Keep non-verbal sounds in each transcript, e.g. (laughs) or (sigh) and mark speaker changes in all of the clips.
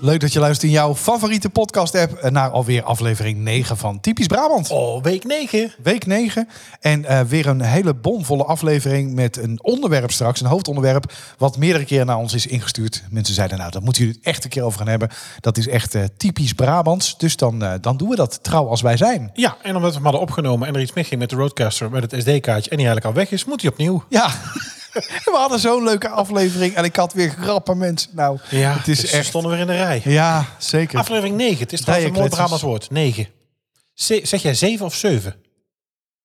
Speaker 1: Leuk dat je luistert in jouw favoriete podcast-app naar alweer aflevering 9 van Typisch Brabant.
Speaker 2: Oh, week 9.
Speaker 1: Week 9 en eh, weer een hele bomvolle aflevering met een onderwerp straks, een hoofdonderwerp, wat meerdere keren naar ons is ingestuurd. Mensen zeiden nou, daar moeten jullie het echt een keer over gaan hebben. Dat is echt eh, typisch Brabants, dus dan, eh, dan doen we dat trouw als wij zijn.
Speaker 2: Ja, en omdat we hem hadden opgenomen en er iets misging met de Roadcaster, met het SD-kaartje en die eigenlijk al weg is, moet hij opnieuw.
Speaker 1: Ja, (laughs) we hadden zo'n leuke aflevering en ik had weer grappen mensen. Nou, het is
Speaker 2: dus Ze
Speaker 1: echt...
Speaker 2: stonden weer in de rij.
Speaker 1: Ja, zeker.
Speaker 2: Aflevering 9. Het is trouwens een mooi
Speaker 1: Diacletus.
Speaker 2: Brabants woord. 9. Ze- zeg jij 7 of 7?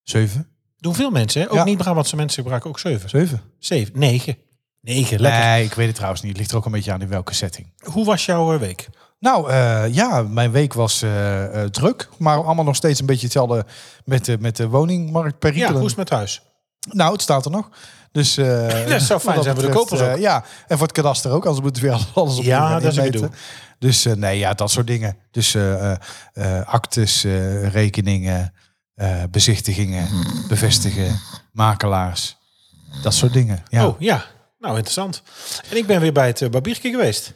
Speaker 1: 7?
Speaker 2: Doen veel mensen, hè? Ook
Speaker 1: Ja.
Speaker 2: niet Brabantse mensen gebruiken ook 7.
Speaker 1: 7?
Speaker 2: 7. 9. 9, lekker.
Speaker 1: Nee, ik weet het trouwens niet. Het ligt er ook een beetje aan in welke setting.
Speaker 2: Hoe was jouw eh, week?
Speaker 1: Nou eh, ja, mijn week was eh, eh, druk, maar allemaal nog steeds een beetje hetzelfde met de, met de woningmarkt
Speaker 2: Ja,
Speaker 1: perikelen.
Speaker 2: hoe is het met huis?
Speaker 1: nou, het staat er nog. Dus, eh,
Speaker 2: (laughs) dat zou fijn
Speaker 1: wat
Speaker 2: zijn voor de
Speaker 1: betreft,
Speaker 2: kopers
Speaker 1: eh,
Speaker 2: ook.
Speaker 1: ja, en voor het kadaster ook, anders moeten we weer (laughs) alles op
Speaker 2: Ja, dat is wat ik
Speaker 1: Dus eh, nee, ja, dat soort dingen. Dus eh, eh, eh, actes, eh, rekeningen, eh, bezichtigingen,
Speaker 2: Hmm.
Speaker 1: bevestigen, makelaars, dat soort dingen. Ja.
Speaker 2: Oh, ja. Nou, interessant. En ik ben weer bij het eh, barbierke geweest.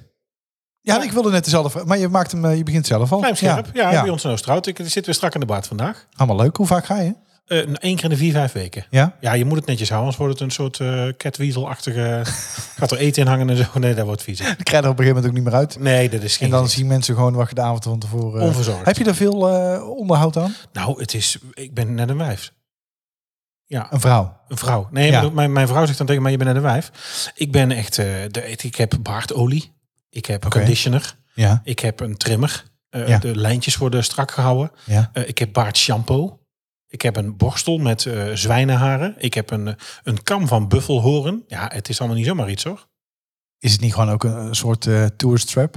Speaker 1: ja, ik wilde net dezelfde, vraag, maar je maakt hem, eh, je begint zelf al.
Speaker 2: Klein scherp. Ja, bij
Speaker 1: ja.
Speaker 2: ons in Oosterhout. Ik zit weer strak in de baard vandaag.
Speaker 1: Allemaal leuk. Hoe vaak ga je?
Speaker 2: Eh, nou, één keer in de vier, vijf weken.
Speaker 1: Ja.
Speaker 2: Ja, je moet het netjes houden, anders wordt het een soort eh catweasel-achtige... (laughs) Gaat er eten in hangen en zo. Nee, dat wordt vies.
Speaker 1: Ik krijg er op een gegeven moment ook niet meer uit.
Speaker 2: Nee, dat is geen...
Speaker 1: En dan zien mensen gewoon wat je de avond van tevoren... eh,
Speaker 2: Onverzorgd.
Speaker 1: Heb je daar veel eh, onderhoud aan?
Speaker 2: Nou, het is... Ik ben net een wijf. Ja,
Speaker 1: Een vrouw.
Speaker 2: een vrouw. Nee,
Speaker 1: Ja.
Speaker 2: maar mijn, mijn vrouw zegt dan tegen mij, je bent net een wijf. Ik ben echt... eh, de, ik heb baardolie. Ik heb
Speaker 1: Oké.
Speaker 2: conditioner.
Speaker 1: Ja.
Speaker 2: Ik heb een trimmer. Eh,
Speaker 1: Ja.
Speaker 2: De lijntjes worden strak gehouden.
Speaker 1: ja.
Speaker 2: Eh, ik heb baardshampoo. Ik heb een borstel met eh, zwijnenharen. Ik heb een, eh, een kam van buffelhoren. Ja, het is allemaal niet zomaar iets hoor.
Speaker 1: Is het niet gewoon ook een, een soort eh tourist trap?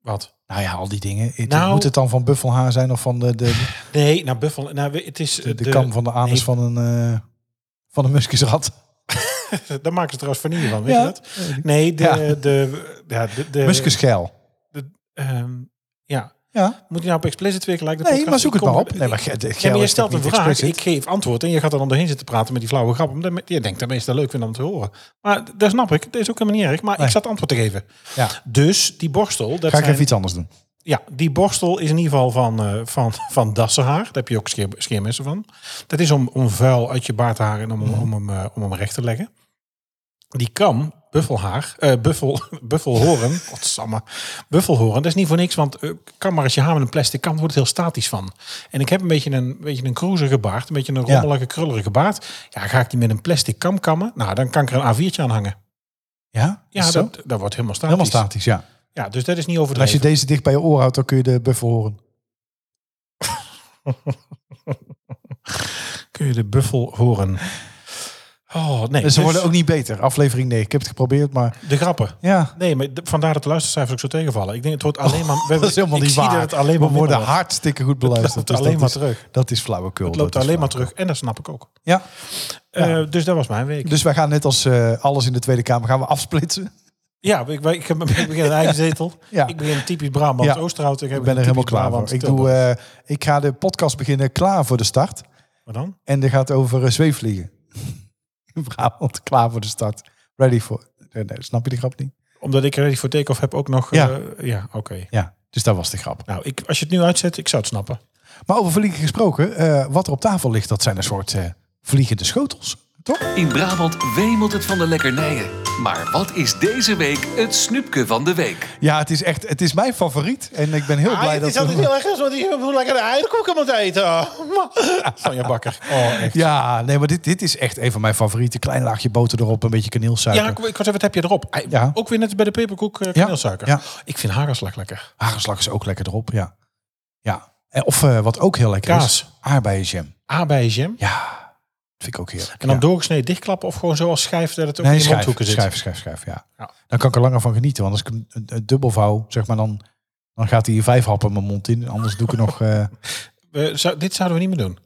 Speaker 2: Wat?
Speaker 1: Nou ja, al die dingen. Het-
Speaker 2: Nou-
Speaker 1: Moet het dan van buffelhaar zijn of van de,
Speaker 2: (laughs)
Speaker 1: de,
Speaker 2: Nee, nou buffel. Nou, we- het is eh,
Speaker 1: de, de kam van de anus
Speaker 2: nee.
Speaker 1: van een... eh van een muskisrat?
Speaker 2: eh, Daar maken ze trouwens vanille van, weet
Speaker 1: Ja.
Speaker 2: je dat? Nee, de,
Speaker 1: Ja.
Speaker 2: de, ja, de, de
Speaker 1: Muskusgeil.
Speaker 2: ehm, ja.
Speaker 1: Ja.
Speaker 2: Moet je nou op explicit weer gelijk de
Speaker 1: Nee,
Speaker 2: podcast-
Speaker 1: maar zoek
Speaker 2: Ik
Speaker 1: het maar
Speaker 2: kom-
Speaker 1: op. Nee, maar, ge- de
Speaker 2: Ja,
Speaker 1: geil
Speaker 2: maar je
Speaker 1: is toch
Speaker 2: stelt een
Speaker 1: niet
Speaker 2: vraag,
Speaker 1: explicit?
Speaker 2: ik geef antwoord en je gaat er dan doorheen zitten praten met die flauwe grap. Omdat je denkt dat mensen dat leuk vinden om te horen. Maar d- dat snap ik, dat is ook helemaal niet erg. Maar
Speaker 1: Nee.
Speaker 2: ik zat antwoord te geven.
Speaker 1: Ja.
Speaker 2: Dus die borstel, dat
Speaker 1: Ga ik
Speaker 2: zijn-
Speaker 1: even iets anders doen.
Speaker 2: ja, die borstel is in ieder geval van, eh, van, van dassenhaar. Daar heb je ook scheer, scheermessen van. Dat is om, om vuil uit je baard te haren en om,
Speaker 1: Mhm.
Speaker 2: om, hem, eh, om hem recht te leggen. Die kam, buffelhaar, eh buffel, (laughs) buffelhoren, godsamme, buffelhoren, dat is niet voor niks, want eh, kam maar als je haar met een plastic kam, wordt het heel statisch van. En ik heb een beetje een, beetje een cruisige baard, een beetje een
Speaker 1: Ja.
Speaker 2: rommelige, krullerige baard. Ja, ga ik die met een plastic kam kammen, nou, dan kan ik er een A4'tje aan hangen.
Speaker 1: Ja? Is
Speaker 2: Ja,
Speaker 1: het zo?
Speaker 2: dat, dat wordt helemaal statisch.
Speaker 1: Helemaal statisch, ja.
Speaker 2: Ja, dus dat is niet
Speaker 1: En als je
Speaker 2: overdreven.
Speaker 1: deze dicht bij je oor houdt, dan kun je de buffel horen.
Speaker 2: Kun je de buffel horen? Oh, nee.
Speaker 1: En
Speaker 2: dus
Speaker 1: ze worden ook niet beter. Aflevering 9. Ik heb het geprobeerd, maar
Speaker 2: De grappen.
Speaker 1: ja.
Speaker 2: Nee, maar de- vandaar dat de luistercijfers ook zo tegenvallen. Ik denk het wordt alleen maar... we-
Speaker 1: Oh, (laughs) Dat is helemaal
Speaker 2: ik
Speaker 1: niet
Speaker 2: zie
Speaker 1: waar.
Speaker 2: dat het alleen maar
Speaker 1: we worden
Speaker 2: minder wordt.
Speaker 1: hartstikke goed beluisterd.
Speaker 2: loopt
Speaker 1: dus
Speaker 2: alleen
Speaker 1: dat
Speaker 2: maar
Speaker 1: is-
Speaker 2: terug.
Speaker 1: Dat is flauwekul.
Speaker 2: Het loopt
Speaker 1: dat is
Speaker 2: alleen maar
Speaker 1: flauwekul.
Speaker 2: terug. En dat snap ik ook.
Speaker 1: Ja,
Speaker 2: Eh, dus dat was mijn week.
Speaker 1: dus wij gaan net als eh, alles in de Tweede Kamer gaan we afsplitsen.
Speaker 2: Ja, ik, ik, heb- ik begin een eigen zetel.
Speaker 1: (laughs) Ja.
Speaker 2: Ik begin typisch Brabant,
Speaker 1: Ja.
Speaker 2: Oosterhout. Ik, heb
Speaker 1: Ik ben er
Speaker 2: een
Speaker 1: helemaal
Speaker 2: typisch
Speaker 1: klaar
Speaker 2: Brabant,
Speaker 1: voor. Ik, doe,
Speaker 2: Tilburg.
Speaker 1: eh, ik ga de podcast beginnen klaar voor de start.
Speaker 2: Maar dan?
Speaker 1: En die gaat over eh, zweefvliegen. (laughs) In Brabant, klaar voor de start. Ready for... Nee, nee, snap je de grap niet?
Speaker 2: Omdat ik ready voor take-off heb ook nog...
Speaker 1: Ja.
Speaker 2: Ja, ja oké.
Speaker 1: Ja, dus dat was de grap.
Speaker 2: Nou, ik, als je het nu uitzet, ik zou het snappen.
Speaker 1: Maar over vliegen gesproken, eh, wat er op tafel ligt, dat zijn een soort eh, vliegende schotels. Toch?
Speaker 3: In Brabant wemelt het van de lekkernijen. Maar wat is deze week het snoepje van de week?
Speaker 1: Ja, het is echt, het is mijn favoriet. En ik ben heel blij dat... we-
Speaker 2: erg is, want ik moet lekker de eierkoeken moet eten. (laughs) Sonja Bakker. Oh, echt.
Speaker 1: Ja, nee, maar dit, dit is echt een van mijn favorieten. Klein laagje boter erop, een beetje kaneelsuiker.
Speaker 2: Ja, ik, ik wou zeggen, wat heb je erop? Ei,
Speaker 1: Ja.
Speaker 2: Ook weer net als bij de peperkoek eh kaneelsuiker.
Speaker 1: ja.
Speaker 2: Ik vind hagelslag lekker.
Speaker 1: Hagelslag is ook lekker erop, ja. ja. En Of eh, wat ook heel lekker is,
Speaker 2: Kaas.
Speaker 1: aardbeienjam.
Speaker 2: Aardbeienjam.
Speaker 1: Ja, dat vind ik ook heerlijk.
Speaker 2: En dan
Speaker 1: ja.
Speaker 2: doorgesneden dichtklappen of gewoon zoals schijf dat het ook
Speaker 1: nee,
Speaker 2: in je
Speaker 1: schijf,
Speaker 2: mondhoeken zit.
Speaker 1: schijf, schijf, schijf, ja.
Speaker 2: Ja.
Speaker 1: Dan kan ik er langer van genieten. Want als ik een, een, een dubbel vouw, zeg maar, dan, dan gaat hij hier vijf happen mijn mond in. Anders doe ik er nog... eh, (laughs) nee,
Speaker 2: We- zou- dit zouden we niet meer doen.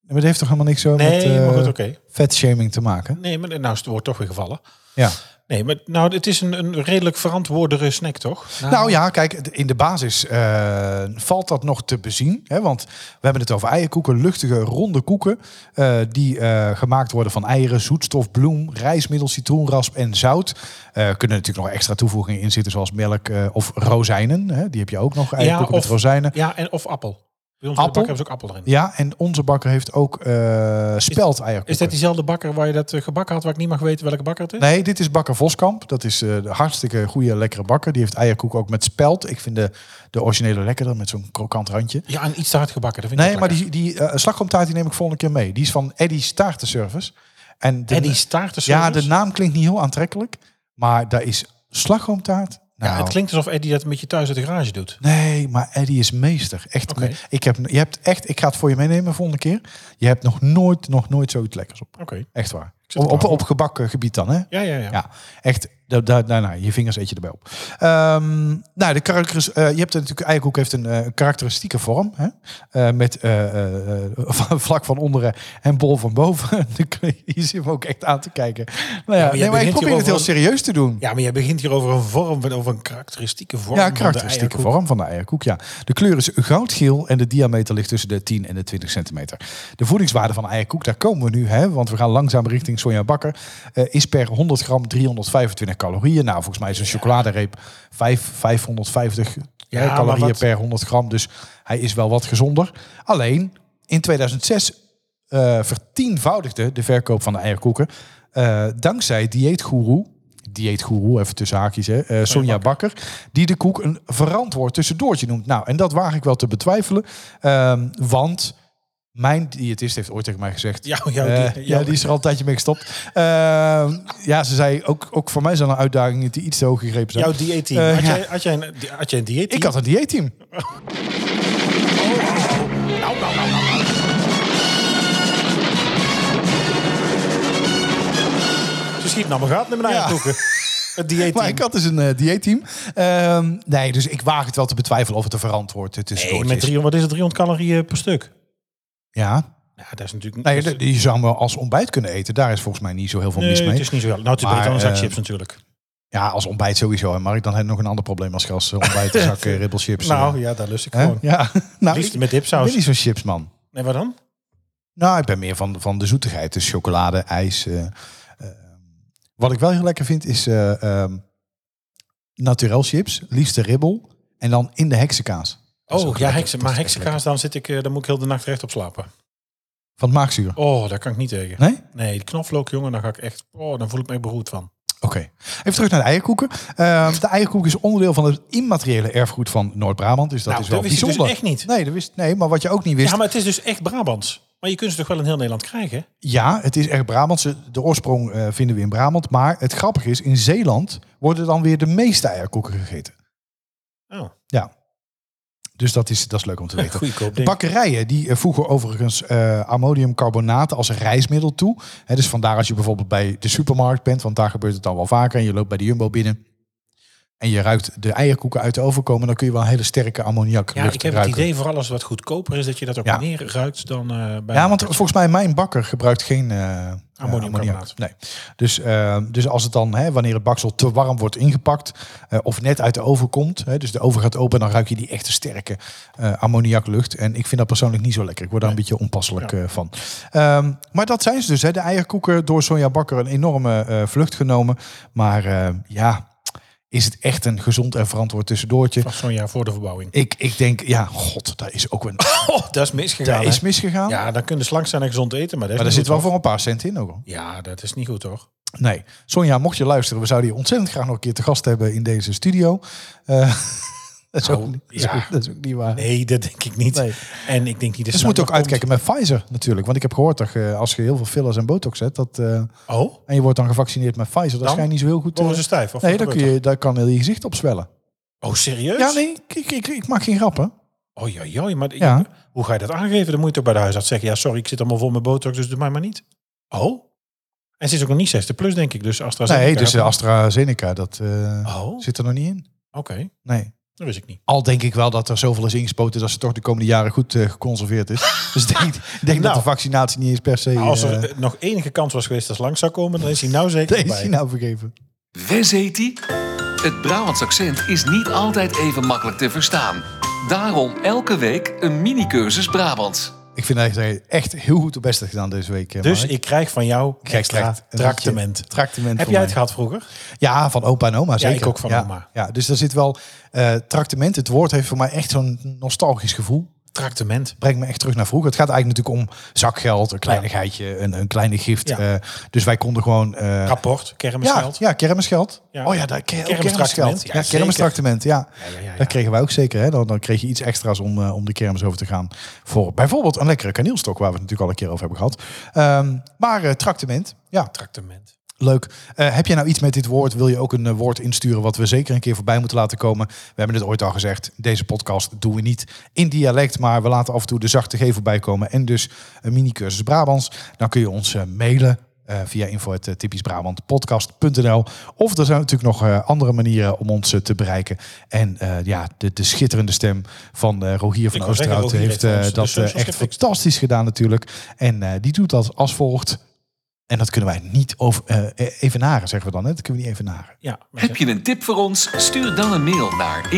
Speaker 1: maar dat heeft toch helemaal niks zo
Speaker 2: Nee,
Speaker 1: met eh
Speaker 2: maar goed, oké.
Speaker 1: vetshaming te maken?
Speaker 2: Nee, maar nou is het woord toch weer gevallen.
Speaker 1: Ja.
Speaker 2: Nee, maar nou, het is een, een redelijk verantwoordere snack, toch?
Speaker 1: Nou ja, kijk, de- in de basis eh, valt dat nog te bezien. Hè? Want we hebben het over eierkoeken, luchtige, ronde koeken. eh, die eh, gemaakt worden van eieren, zoetstof, bloem, rijstmiddel, citroenrasp en zout. Eh kunnen natuurlijk nog extra toevoegingen in zitten, zoals melk eh, of rozijnen. Hè? Die heb je ook nog, eierkoeken
Speaker 2: of-
Speaker 1: met rozijnen.
Speaker 2: Ja, en, of appel. Bij ons
Speaker 1: Appel?
Speaker 2: in de bakker hebben ze ook appel erin.
Speaker 1: Ja, en onze bakker heeft ook eh speld eierkoeken.
Speaker 2: Is dat diezelfde bakker waar je dat eh, gebakken had, waar ik niet mag weten welke bakker het is?
Speaker 1: Nee, dit is Bakker Voskamp. Dat is eh, de hartstikke goede, lekkere bakker. Die heeft eierkoek ook met speld. Ik vind de, de originele lekkerder met zo'n krokant randje.
Speaker 2: Ja, en iets te hard gebakken. Dat vind
Speaker 1: Nee,
Speaker 2: ik
Speaker 1: maar die, die eh, slagroomtaart die neem ik volgende keer mee. Die is van Eddie's Taartenservice. En de,
Speaker 2: En die staart
Speaker 1: Ja, de naam klinkt niet heel aantrekkelijk. Maar daar is slagroomtaart. Nou,
Speaker 2: Ja, het klinkt alsof Eddie dat met je thuis uit de garage doet.
Speaker 1: Nee, maar Eddie is meester. Echt.
Speaker 2: Oké.
Speaker 1: Ik, heb, je hebt echt, ik ga het voor je meenemen volgende keer. Je hebt nog nooit, nog nooit zoiets lekkers op.
Speaker 2: Oké.
Speaker 1: Echt waar.
Speaker 2: zit
Speaker 1: Op, op,
Speaker 2: klaar.
Speaker 1: op gebakken gebied dan, hè?
Speaker 2: Ja, ja, ja.
Speaker 1: Ja, echt. Da, da, nou, nou, je vingers eet je erbij op. Ehm, nou, de karakteris, eh, je hebt natuurlijk eierkoek heeft een eh, karakteristieke vorm. Hè? Eh, met eh, eh, (laughs) eh, vlak van onderen en bol van boven. (laughs) Dan kun je- Hier zit hem ook echt aan te kijken. Nou ja,
Speaker 2: maar jij
Speaker 1: nee, maar ik
Speaker 2: begint
Speaker 1: probeer het heel
Speaker 2: hierover-
Speaker 1: serieus te doen.
Speaker 2: Ja, maar jij begint hier over een vorm, van- over een karakteristieke vorm.
Speaker 1: Ja,
Speaker 2: van de
Speaker 1: karakteristieke
Speaker 2: eierkoek.
Speaker 1: vorm van de eierkoek. Ja. De kleur is goudgeel en de diameter ligt tussen de 10 en de 20 centimeter. De voedingswaarde van de eierkoek, daar komen we nu, hè, want we gaan langzaam richting Sonja Bakker, eh, is per 100 gram 325 calorieën. Nou, volgens mij is een chocoladereep 5, 550
Speaker 2: Ja,
Speaker 1: hè,
Speaker 2: maar
Speaker 1: calorieën
Speaker 2: wat-
Speaker 1: per 100 gram, dus hij is wel wat gezonder. Alleen in 2006 eh, vertienvoudigde de verkoop van de eierkoeken eh, dankzij dieetgoeroe, dieetgoeroe even tussen haakjes, hè, eh, Sonja Bakker, die de koek een verantwoord tussendoortje noemt. Nou, en dat waag ik wel te betwijfelen, ehm, want mijn diëtist heeft ooit tegen mij gezegd,
Speaker 2: Ja, jouw
Speaker 1: eh,
Speaker 2: die-
Speaker 1: ja,
Speaker 2: jouw-
Speaker 1: die is er al een tijdje mee gestopt. Ehm, ja, ze zei, ook, ook voor mij zijn er uitdagingen die iets te hoog gegrepen zijn.
Speaker 2: Jouw dieetteam.
Speaker 1: Eh,
Speaker 2: had,
Speaker 1: ja.
Speaker 2: jij, had, jij een, had jij een dieetteam?
Speaker 1: Ik had een dieetteam.
Speaker 2: Ze schiet nou mijn gaten in mijn
Speaker 1: Ja. (laughs)
Speaker 2: eierkoeken. Het dieetteam.
Speaker 1: Maar ik had dus een eh, dieetteam. Ehm, nee, dus ik waag het wel te betwijfelen of het een verantwoord eh,
Speaker 2: Nee,
Speaker 1: tussendoortje
Speaker 2: met
Speaker 1: is.
Speaker 2: 300, wat is het, 300 calorieën per stuk?
Speaker 1: Ja,
Speaker 2: Ja, dat is natuurlijk...
Speaker 1: nee, de- die zou me als ontbijt kunnen eten. Daar is volgens mij niet zo heel veel
Speaker 2: Nee,
Speaker 1: mis mee.
Speaker 2: het is niet zo wel. Nou, het is
Speaker 1: Maar,
Speaker 2: beter dan een zak
Speaker 1: eh,
Speaker 2: chips natuurlijk.
Speaker 1: Ja, als ontbijt sowieso. En Mark, dan heb je nog een ander probleem als gas.
Speaker 2: (laughs)
Speaker 1: Ontbijt, een zak eh, ribbelchips.
Speaker 2: Nou,
Speaker 1: eh,
Speaker 2: ja, daar lust ik
Speaker 1: hè?
Speaker 2: gewoon.
Speaker 1: ja. (laughs) nou,
Speaker 2: Liefst
Speaker 1: ik
Speaker 2: met
Speaker 1: ben
Speaker 2: dipsaus.
Speaker 1: niet zo'n chipsman.
Speaker 2: Nee, wat dan?
Speaker 1: Nou, ik ben meer van, van de zoetigheid. Dus chocolade, ijs. eh, eh. Wat ik wel heel lekker vind is eh ehm naturel chips. Liefst de ribbel. En dan in de heksenkaas. Dat is
Speaker 2: Oh,
Speaker 1: ook
Speaker 2: ja,
Speaker 1: lekker.
Speaker 2: heksen,
Speaker 1: Dat is
Speaker 2: maar
Speaker 1: echt lekker.
Speaker 2: heksenkaas, dan, zit ik, eh, dan moet ik heel de nacht recht op slapen.
Speaker 1: Van het maagzuur.
Speaker 2: Oh, daar kan ik niet tegen.
Speaker 1: Nee?
Speaker 2: Nee, die knoflook, jongen, dan ga ik echt... Oh, dan voel ik me beroerd van.
Speaker 1: Oké. Even terug naar de eierkoeken. Ehm, de eierkoek is onderdeel van het immateriële erfgoed van Noord-Brabant. Dus dat
Speaker 2: Nou,
Speaker 1: is wel
Speaker 2: dat wist ik dus
Speaker 1: bijzonder.
Speaker 2: echt niet.
Speaker 1: Nee, dat wist, nee, maar wat je ook niet wist.
Speaker 2: Ja,
Speaker 1: Ja,
Speaker 2: maar het is dus echt Brabants. Maar je kunt ze toch wel in heel Nederland krijgen?
Speaker 1: het is echt Brabants. De oorsprong eh, vinden we in Brabant. Maar het grappige is, in Zeeland worden dan weer de meeste eierkoeken gegeten.
Speaker 2: Oh,
Speaker 1: Ja. Dus dat is, dat is leuk om te weten.
Speaker 2: goedkoop
Speaker 1: De
Speaker 2: ding.
Speaker 1: bakkerijen die eh, voegen overigens eh ammoniumcarbonaat als rijstmiddel toe. Hè, dus vandaar als je bijvoorbeeld bij de supermarkt bent, want daar gebeurt het dan wel vaker. En je loopt bij de Jumbo binnen en je ruikt de eierkoeken uit de oven komen, dan kun je wel een hele sterke ammoniak
Speaker 2: Ja,
Speaker 1: lucht
Speaker 2: ik heb
Speaker 1: ruiken.
Speaker 2: het idee voor alles wat goedkoper is, dat je dat ook
Speaker 1: Ja.
Speaker 2: meer ruikt dan eh, bij...
Speaker 1: Ja, want volgens mij mijn bakker gebruikt geen eh ammoniak.
Speaker 2: Ammoniumcarbonaat.
Speaker 1: Nee. Dus, eh, dus als het dan, hè, wanneer het baksel te warm wordt ingepakt eh, of net uit de oven komt, hè, dus de oven gaat open, dan ruik je die echte sterke eh ammoniaklucht. En ik vind dat persoonlijk niet zo lekker. Ik word daar een beetje onpasselijk eh, van. Ehm, maar dat zijn ze dus. Hè. De eierkoeken door Sonja Bakker een enorme eh, vlucht genomen. Maar eh, ja, is het echt een gezond en verantwoord tussendoortje?
Speaker 2: Van zo'n jaar voor
Speaker 1: (laughs)
Speaker 2: de verbouwing.
Speaker 1: Ik, ik denk, ja, god, daar is ook een...
Speaker 2: Oh, dat is misgegaan.
Speaker 1: Daar
Speaker 2: hè?
Speaker 1: is misgegaan.
Speaker 2: Ja, dan kunnen slank zijn en gezond eten, maar dat is
Speaker 1: Maar daar
Speaker 2: niet
Speaker 1: zit wel
Speaker 2: goed,
Speaker 1: voor een paar cent in ook al.
Speaker 2: hoor. Ja, dat is niet goed, toch?
Speaker 1: Nee. Sonja, mocht je luisteren, we zouden je ontzettend graag nog een keer te gast hebben in deze studio. Eh, (laughs) dat, is
Speaker 2: Nou,
Speaker 1: ook, niet- dat, is
Speaker 2: ja.
Speaker 1: ook, (laughs) dat is ook niet waar.
Speaker 2: Nee, dat denk ik niet.
Speaker 1: Nee.
Speaker 2: En ik denk niet... dat
Speaker 1: Dus
Speaker 2: ze
Speaker 1: je moet ook
Speaker 2: nou nog
Speaker 1: uitkijken met Pfizer natuurlijk. Want ik heb gehoord dat je, als je heel veel fillers en botox hebt, dat, eh,
Speaker 2: komt. Oh,
Speaker 1: en je wordt dan gevaccineerd met Pfizer, dat
Speaker 2: Dan?
Speaker 1: schijnt niet zo heel goed. eh,
Speaker 2: worden ze stijf? Of
Speaker 1: nee,
Speaker 2: wat
Speaker 1: dan, kun
Speaker 2: gebeurt
Speaker 1: je, daar kan heel je gezicht opzwellen.
Speaker 2: er? Oh, serieus?
Speaker 1: Ja, nee, ik, ik, ik, ik maak geen grappen.
Speaker 2: Oh, joi, joi, maar
Speaker 1: Ja.
Speaker 2: hoe ga je dat aangeven? Dan moet je toch bij de huisarts zeggen... Ja, sorry, ik zit allemaal vol met botox, dus doe mij maar niet. Oh? En ze is ook nog niet 60 plus, denk ik. Dus AstraZeneca...
Speaker 1: Nee, dus de AstraZeneca, dat eh,
Speaker 2: Oh, oké.
Speaker 1: zit er nog niet in. Nee.
Speaker 2: Dat wist ik niet.
Speaker 1: Al denk ik wel dat er zoveel is ingespoten dat ze toch de komende jaren goed eh, geconserveerd (laughs) is. Dus ik denk, ik denk dat
Speaker 2: Nou.
Speaker 1: de vaccinatie niet eens per se...
Speaker 2: Nou, als
Speaker 1: eh, (laughs)
Speaker 2: er eh, nog enige kans was geweest dat ze langs zou komen, dan is hij nou zeker
Speaker 1: Deze is
Speaker 2: bij.
Speaker 1: hij nou vergeven.
Speaker 3: Wes heet die? Het Brabants accent is niet altijd even makkelijk te verstaan. Daarom elke week een mini-cursus Brabants.
Speaker 1: Ik vind eigenlijk echt heel goed de beste gedaan deze week. eh,
Speaker 2: Dus
Speaker 1: Mark.
Speaker 2: ik krijg van jou
Speaker 1: Jij
Speaker 2: extra
Speaker 1: krijgt een
Speaker 2: tractement.
Speaker 1: ratje- Tractement
Speaker 2: Heb
Speaker 1: van
Speaker 2: jij
Speaker 1: mij.
Speaker 2: het gehad vroeger?
Speaker 1: Ja, van opa en oma. Zeker.
Speaker 2: ik ook van
Speaker 1: ja,
Speaker 2: oma.
Speaker 1: Ja, dus daar zit wel eh tractement. Het woord heeft voor mij echt zo'n nostalgisch gevoel.
Speaker 2: Tractement.
Speaker 1: Brengt me echt terug naar vroeger. Het gaat eigenlijk natuurlijk om zakgeld, een kleinigheidje, een, een kleine gift.
Speaker 2: Ja.
Speaker 1: eh, dus wij konden gewoon. eh,
Speaker 2: Rapport,
Speaker 1: ja,
Speaker 2: kermisgeld.
Speaker 1: ja, kermisgeld.
Speaker 2: Ja.
Speaker 1: Oh ja, daar, ker-
Speaker 2: Kermistractement.
Speaker 1: kermisgeld.
Speaker 2: Ja,
Speaker 1: Ja,
Speaker 2: zeker.
Speaker 1: kermistractement. Ja.
Speaker 2: ja, ja, ja.
Speaker 1: Dat kregen wij ook zeker. Hè? Dan, dan kreeg je iets extra's om, eh, om de kermis over te gaan. Voor bijvoorbeeld een lekkere kaneelstok, waar we het natuurlijk al een keer over hebben gehad. Ehm, maar eh, tractement. Ja,
Speaker 2: Tractement.
Speaker 1: Leuk. Eh, heb jij nou iets met dit woord? Wil je ook een eh, woord insturen wat we zeker een keer voorbij moeten laten komen? We hebben het ooit al gezegd. Deze podcast doen we niet in dialect, maar we laten af en toe de zachte G voorbij komen. En dus een mini-cursus Brabants. Dan kun je ons eh, mailen eh, via info at, eh, typischbrabantpodcast.nl. Of er zijn natuurlijk nog eh, andere manieren om ons eh, te bereiken. En eh, ja, de, de schitterende stem van eh Rogier van
Speaker 2: wou zeggen,
Speaker 1: Oosterhout
Speaker 2: Rogier
Speaker 1: heeft
Speaker 2: heeft
Speaker 1: eh,
Speaker 2: ons de
Speaker 1: dat eh,
Speaker 2: socials
Speaker 1: echt
Speaker 2: gefixt.
Speaker 1: fantastisch gedaan natuurlijk. En eh, die doet dat als volgt. En dat kunnen wij niet over, eh, evenaren, zeggen we dan. Hè? Dat kunnen we niet evenaren.
Speaker 2: Ja.
Speaker 3: Heb je een tip voor ons? Stuur dan een mail naar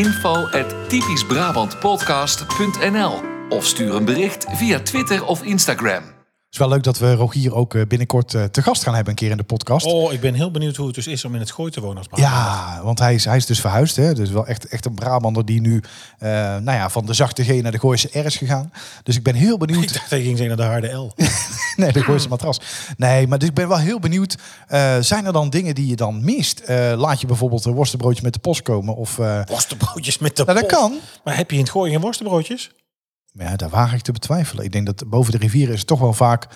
Speaker 3: info.typischbrabantpodcast.nl of stuur een bericht via Twitter of Instagram.
Speaker 1: Het is wel leuk dat we Rogier ook eh, binnenkort eh, te gast gaan hebben een keer in de podcast.
Speaker 2: Oh, ik ben heel benieuwd hoe het dus is om in het gooi te wonen als Brabant.
Speaker 1: Ja, want hij is, hij is dus verhuisd. Hè? Dus wel echt, echt een Brabander die nu eh, nou ja, van de zachte G naar de Gooise R is gegaan. Dus ik ben heel benieuwd.
Speaker 2: (laughs) Ik dacht dat je ging zeggen naar de harde L.
Speaker 1: Nee, de Gooise matras. Nee, maar dus ik ben wel heel benieuwd. eh, zijn er dan dingen die je dan mist? Eh, laat je bijvoorbeeld een worstenbroodje met de post komen? Of, eh,
Speaker 2: Worstenbroodjes met de
Speaker 1: nou, dat
Speaker 2: post.
Speaker 1: kan.
Speaker 2: Maar heb je in het gooien geen worstenbroodjes?
Speaker 1: Ja, daar waag ik te betwijfelen. Ik denk dat boven de rivieren is het toch wel vaak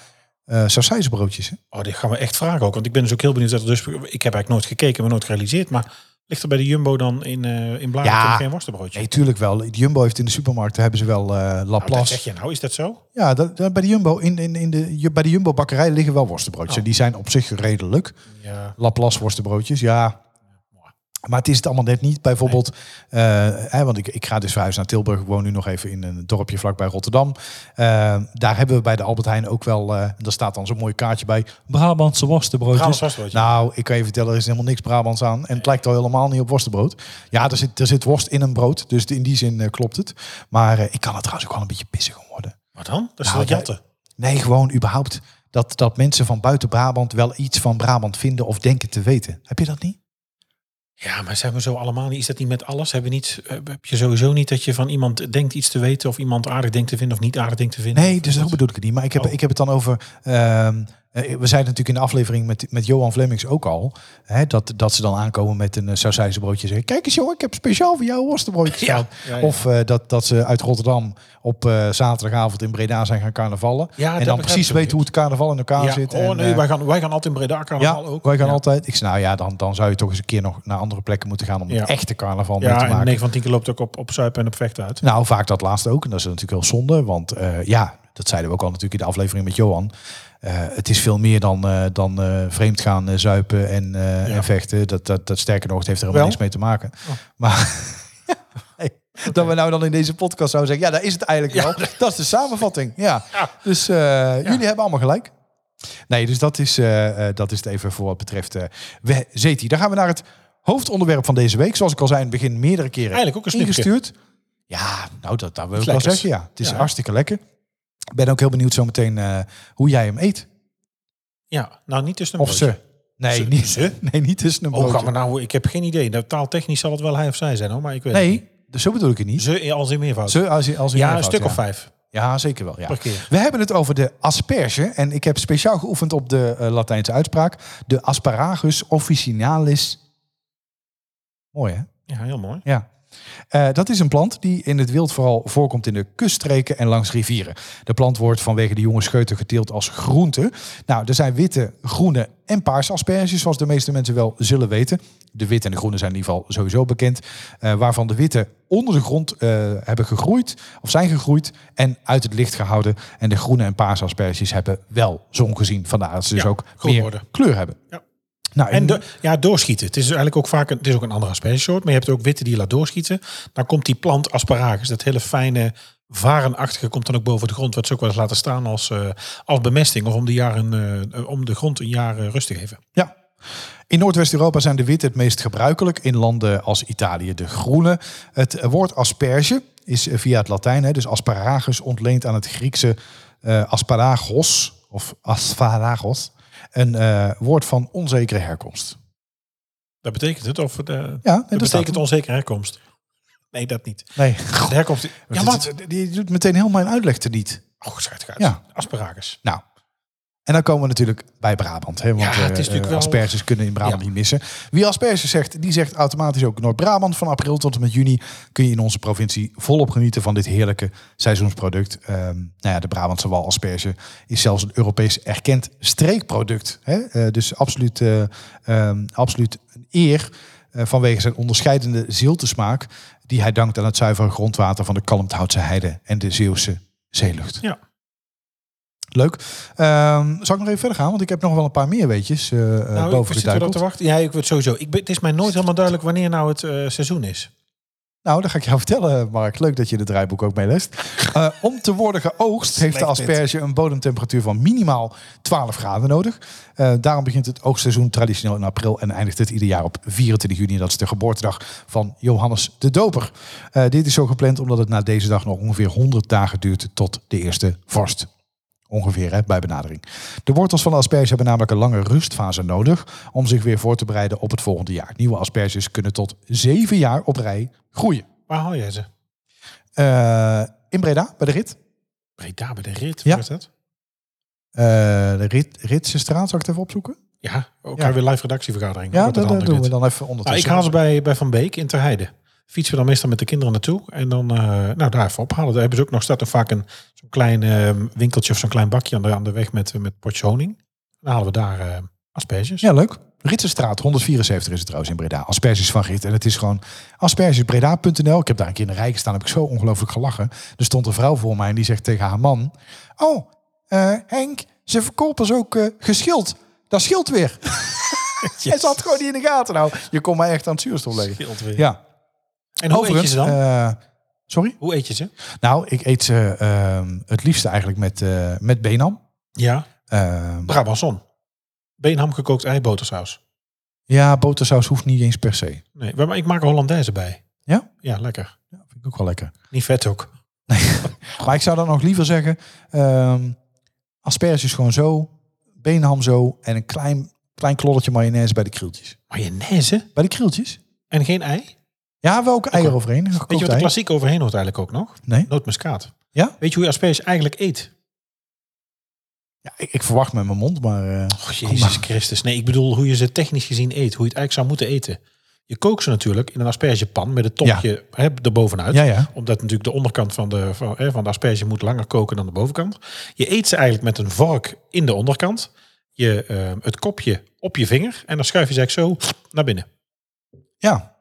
Speaker 1: eh sausijzenbroodjes. Hè?
Speaker 2: Oh, dit gaan we echt vragen ook. Want ik ben dus ook heel benieuwd. Dat er dus, ik heb eigenlijk nooit gekeken, maar nooit gerealiseerd. Maar ligt er bij de Jumbo dan in, eh in Blaren
Speaker 1: Ja.
Speaker 2: geen worstenbroodje?
Speaker 1: Nee, tuurlijk wel. Jumbo heeft in de supermarkten hebben ze wel eh
Speaker 2: Nou, dat
Speaker 1: Laplace.
Speaker 2: zeg je nou, is dat zo?
Speaker 1: ja, dat, dat- bij de Jumbo in, in, in de ju- bij de Jumbo bakkerij liggen wel worstenbroodjes.
Speaker 2: Oh.
Speaker 1: Die zijn op zich redelijk.
Speaker 2: Ja.
Speaker 1: Laplace worstenbroodjes, ja. Maar het is het allemaal net niet. Bijvoorbeeld, eh, hè, want ik, ik ga dus verhuizen naar Tilburg. Ik woon nu nog even in een dorpje vlakbij Rotterdam. Eh, daar hebben we bij de Albert Heijn ook wel... eh, daar staat dan zo'n mooi kaartje bij. Brabantse worstenbroodjes.
Speaker 2: Brabants worstenbroodje.
Speaker 1: Nou, ik kan je vertellen, er is helemaal niks Brabants aan. En het lijkt al helemaal niet op worstenbrood. Ja, er zit, er zit worst in een brood. Dus in die zin eh, klopt het. Maar eh, ik kan er trouwens ook wel een beetje pissig om worden.
Speaker 2: Wat dan? Dat is
Speaker 1: Nou,
Speaker 2: wel jatten.
Speaker 1: Nee, gewoon überhaupt dat, dat mensen van buiten Brabant wel iets van Brabant vinden of denken te weten. Heb je dat niet?
Speaker 2: Ja, maar zijn we zo allemaal niet? Is dat niet met alles? Hebben we niet, eh, heb je sowieso niet dat je van iemand denkt iets te weten... of iemand aardig denkt te vinden of niet aardig denkt te vinden?
Speaker 1: Nee, dus dat bedoel ik het niet. Maar ik heb,
Speaker 2: Oh.
Speaker 1: ik heb het dan over. ehm, eh, we zeiden natuurlijk in de aflevering met, met Johan Vlemmings ook al. Hè, dat, dat ze dan aankomen met een uh, sausijzenbroodje. en Zeggen: Kijk eens, jongen, ik heb speciaal voor jou een worstenbroodje.
Speaker 2: Ja,
Speaker 1: staan."
Speaker 2: ja, ja.
Speaker 1: Of eh, dat, dat ze uit Rotterdam op eh, zaterdagavond in Breda zijn gaan carnavallen.
Speaker 2: Ja,
Speaker 1: en
Speaker 2: dat
Speaker 1: dan
Speaker 2: begrijp
Speaker 1: precies
Speaker 2: ik ook
Speaker 1: weten hoe het carnaval in elkaar
Speaker 2: Ja,
Speaker 1: zit.
Speaker 2: oh
Speaker 1: en,
Speaker 2: nee,
Speaker 1: eh,
Speaker 2: wij, gaan, wij gaan altijd in Breda
Speaker 1: ja,
Speaker 2: carnaval ook.
Speaker 1: wij gaan
Speaker 2: Ja.
Speaker 1: altijd. Ik zei, nou ja, dan, dan zou je toch eens een keer nog naar andere plekken moeten gaan om
Speaker 2: Ja.
Speaker 1: een echte carnaval mee te
Speaker 2: Ja,
Speaker 1: maken.
Speaker 2: en 9 van 10 keer loopt ook op, op zuipen en op vechten uit.
Speaker 1: Nou, vaak dat laatste ook. En dat is natuurlijk heel zonde. Want eh, ja, dat zeiden we ook al natuurlijk in de aflevering met Johan. Eh, het is veel meer dan, eh, dan eh, vreemd gaan eh, zuipen en, eh,
Speaker 2: Ja.
Speaker 1: en vechten. Dat, dat, dat sterker nog, het heeft er helemaal
Speaker 2: Wel? Oh.
Speaker 1: niks mee te maken. Maar (laughs) nee, dat we nou dan in deze podcast zouden zeggen... ja, daar is het eigenlijk wel. Dat is de samenvatting. Ja.
Speaker 2: (laughs) Ja.
Speaker 1: Dus eh, jullie hebben allemaal gelijk. Nee, dus dat is, eh, eh, dat is het even voor wat betreft eh, we Zeti. Dan gaan we naar het hoofdonderwerp van deze week. Zoals ik al zei in het begin, meerdere keren
Speaker 2: Eigenlijk ook een snipje.
Speaker 1: ingestuurd. Ja, nou, dat, dat wil ik wel
Speaker 2: lekkers.
Speaker 1: zeggen, ja. Het is
Speaker 2: Ja.
Speaker 1: hartstikke lekker. Ik ben ook heel benieuwd zometeen eh, hoe jij hem eet.
Speaker 2: Ja, nou niet tussen een
Speaker 1: Of ze. Nee,
Speaker 2: Ze-
Speaker 1: niet,
Speaker 2: ze?
Speaker 1: (laughs) nee niet tussen een
Speaker 2: Oh, gaan we
Speaker 1: broodje.
Speaker 2: nou, ik heb geen idee. Nou, taaltechnisch zal het wel hij of zij zijn, hoor, maar ik weet het niet.
Speaker 1: Nee, dus zo bedoel ik het niet.
Speaker 2: Ze als in meervoud.
Speaker 1: Ze, als, je- als je
Speaker 2: ja,
Speaker 1: meervoud,
Speaker 2: een stuk
Speaker 1: ja.
Speaker 2: of vijf.
Speaker 1: Ja, zeker wel. Ja.
Speaker 2: Per keer.
Speaker 1: We hebben het over de asperge. En ik heb speciaal geoefend op de eh, Latijnse uitspraak. De asparagus officinalis. Mooi hè?
Speaker 2: Ja, heel mooi.
Speaker 1: Ja. Eh, dat is een plant die in het wild vooral voorkomt in de kuststreken en langs rivieren. De plant wordt vanwege de jonge scheuten geteeld als groente. Nou, er zijn witte, groene en paarse asperges, zoals de meeste mensen wel zullen weten. De witte en de groene zijn in ieder geval sowieso bekend. eh, waarvan de witte onder de grond eh, hebben gegroeid of zijn gegroeid en uit het licht gehouden. En de groene en paarse asperges hebben wel zon gezien. Vandaar dat ze dus
Speaker 2: Ja,
Speaker 1: ook
Speaker 2: groen
Speaker 1: meer
Speaker 2: worden.
Speaker 1: kleur hebben.
Speaker 2: Ja.
Speaker 1: Nou,
Speaker 2: En do- ja, doorschieten. Het is dus eigenlijk ook vaak een, het is ook een andere aspergesoort, maar je hebt ook witte die je laat doorschieten. Dan komt die plant asparagus, dat hele fijne varenachtige, komt dan ook boven de grond, wat ze ook wel eens laten staan als, eh, als bemesting of om de, jaar een, eh, om de grond een jaar eh, rust te geven.
Speaker 1: Ja, In Noordwest-Europa zijn de witte het meest gebruikelijk. In landen als Italië de groene. Het eh, woord asperge is eh, via het Latijn, hè, dus asparagus, ontleend aan het Griekse eh, asparagos of asparagos. Een eh, woord van onzekere herkomst.
Speaker 2: Dat betekent het? Of, eh,
Speaker 1: Ja, nee,
Speaker 2: dat
Speaker 1: dat staat
Speaker 2: betekent
Speaker 1: er.
Speaker 2: onzekere herkomst. Nee, dat niet.
Speaker 1: Nee.
Speaker 2: De herkomst... (laughs) Ja, wat?
Speaker 1: Die- Die doet meteen heel mijn uitleg te niet.
Speaker 2: Oh, schijt gaat.
Speaker 1: Ja.
Speaker 2: Asparagus.
Speaker 1: Nou, en dan komen we natuurlijk bij Brabant. Hè? Want
Speaker 2: Ja, het is
Speaker 1: eh,
Speaker 2: natuurlijk
Speaker 1: eh,
Speaker 2: wel-
Speaker 1: asperges kunnen in Brabant
Speaker 2: Ja.
Speaker 1: niet missen. Wie asperges zegt, die zegt automatisch ook Noord-Brabant. Van april tot en met juni kun je in onze provincie volop genieten van dit heerlijke seizoensproduct. Ehm, nou ja, de Brabantse walasperge is zelfs een Europees erkend streekproduct. Hè? Eh, dus absoluut, eh, ehm, absoluut een eer eh, vanwege zijn onderscheidende ziltesmaak... die hij dankt aan het zuivere grondwater van de Kalmthoutse heide en de Zeeuwse zeelucht.
Speaker 2: Ja.
Speaker 1: Leuk. Ehm, zal ik nog even verder gaan? Want ik heb nog wel een paar meer weetjes eh, eh,
Speaker 2: nou, ik
Speaker 1: boven de
Speaker 2: zit erop te
Speaker 1: duikel.
Speaker 2: wachten. Ja, ik weet sowieso. Ik ben, het is mij nooit helemaal duidelijk wanneer nou het eh, seizoen is.
Speaker 1: Nou, dat ga ik jou (laughs) vertellen, Mark. Leuk dat je de draaiboek ook meelest. Eh, om te worden geoogst heeft de
Speaker 2: Slecht dit.
Speaker 1: asperge een bodemtemperatuur van minimaal 12 graden nodig. Eh, daarom begint het oogstseizoen traditioneel in april en eindigt het ieder jaar op 24 juni. Dat is de geboortedag van Johannes de Doper. Eh, dit is zo gepland omdat het na deze dag nog ongeveer 100 dagen duurt tot de eerste vorst. Ongeveer hè, bij benadering. De wortels van de asperge hebben namelijk een lange rustfase nodig om zich weer voor te bereiden op het volgende jaar. Nieuwe asperges kunnen tot zeven jaar op rij groeien.
Speaker 2: Waar haal jij ze?
Speaker 1: Eh, in Breda, bij de Rit.
Speaker 2: Breda bij de rit.
Speaker 1: Ja.
Speaker 2: Ja. Dat?
Speaker 1: Eh, de Rit, Ritse straat, zal ik het even opzoeken?
Speaker 2: Ja, ook
Speaker 1: Ja.
Speaker 2: weer live redactievergadering.
Speaker 1: Ja,
Speaker 2: Wordt het
Speaker 1: dat, dat
Speaker 2: handig
Speaker 1: doen
Speaker 2: dit.
Speaker 1: we dan even
Speaker 2: Nou, ik
Speaker 1: ondertussen.
Speaker 2: haal ze bij, bij Van Beek in Terheide. Fietsen we dan meestal met de kinderen naartoe. En dan eh, nou, daar even ophalen. Daar hebben ze ook nog staat nog vaak een zo'n klein eh, winkeltje of zo'n klein bakje aan de, aan de weg met, eh, met potjes honing. Dan halen we daar eh, asperges.
Speaker 1: Ja, leuk. Ritse straat, 174 is het trouwens in Breda. Asperges van Rit. En het is gewoon aspergesbreda.nl. Ik heb daar een keer in de rij gestaan, heb ik zo ongelooflijk gelachen. Er stond een vrouw voor mij en die zegt tegen haar man... Oh, eh, Henk, ze verkopen ze ook eh, geschild. Dat scheelt
Speaker 2: (laughs)
Speaker 1: weer. Hij zat gewoon niet in de gaten. Nou, je kon mij echt aan het zuurstof leggen.
Speaker 2: Scheelt weer.
Speaker 1: Ja,
Speaker 2: En hoe eet je ze dan?
Speaker 1: eh, sorry?
Speaker 2: hoe eet je ze?
Speaker 1: Nou, ik eet ze ehm, het liefste eigenlijk met, eh met Benam.
Speaker 2: Ja,
Speaker 1: Ehm,
Speaker 2: Brabanson. Beenham gekookt ei, botersaus.
Speaker 1: ja, botersaus hoeft niet eens per se.
Speaker 2: Nee, maar ik maak er Hollandaise bij.
Speaker 1: Ja?
Speaker 2: Ja, lekker.
Speaker 1: Ja, vind ik ook wel lekker.
Speaker 2: Niet vet ook.
Speaker 1: Maar ik zou dan nog liever zeggen, ehm asperges gewoon zo, Benam zo en een klein, klein kloddertje mayonaise bij de krieltjes.
Speaker 2: Mayonaise
Speaker 1: Bij de krieltjes?
Speaker 2: en geen ei?
Speaker 1: Ja, wel ook eieren overheen. een
Speaker 2: Weet
Speaker 1: gekookt
Speaker 2: je wat de
Speaker 1: ei.
Speaker 2: klassiek overheen hoort eigenlijk ook nog?
Speaker 1: Nee?
Speaker 2: Nootmuskaat.
Speaker 1: Ja?
Speaker 2: Weet je hoe je asperges eigenlijk eet?
Speaker 1: Ja, ik, ik verwacht met mijn mond, maar... eh,
Speaker 2: Och,
Speaker 1: Kom maar.
Speaker 2: Oh, Jezus Christus. Nee, ik bedoel hoe je ze technisch gezien eet. Hoe je het eigenlijk zou moeten eten. Je kookt ze natuurlijk in een aspergepan met het topje hè, erbovenuit.
Speaker 1: ja, ja.
Speaker 2: Omdat natuurlijk de onderkant van de, van, hè, van de asperge moet langer koken dan de bovenkant. Je eet ze eigenlijk met een vork in de onderkant. Je, eh, het kopje op je vinger. En dan schuif je ze eigenlijk zo naar binnen.
Speaker 1: Ja.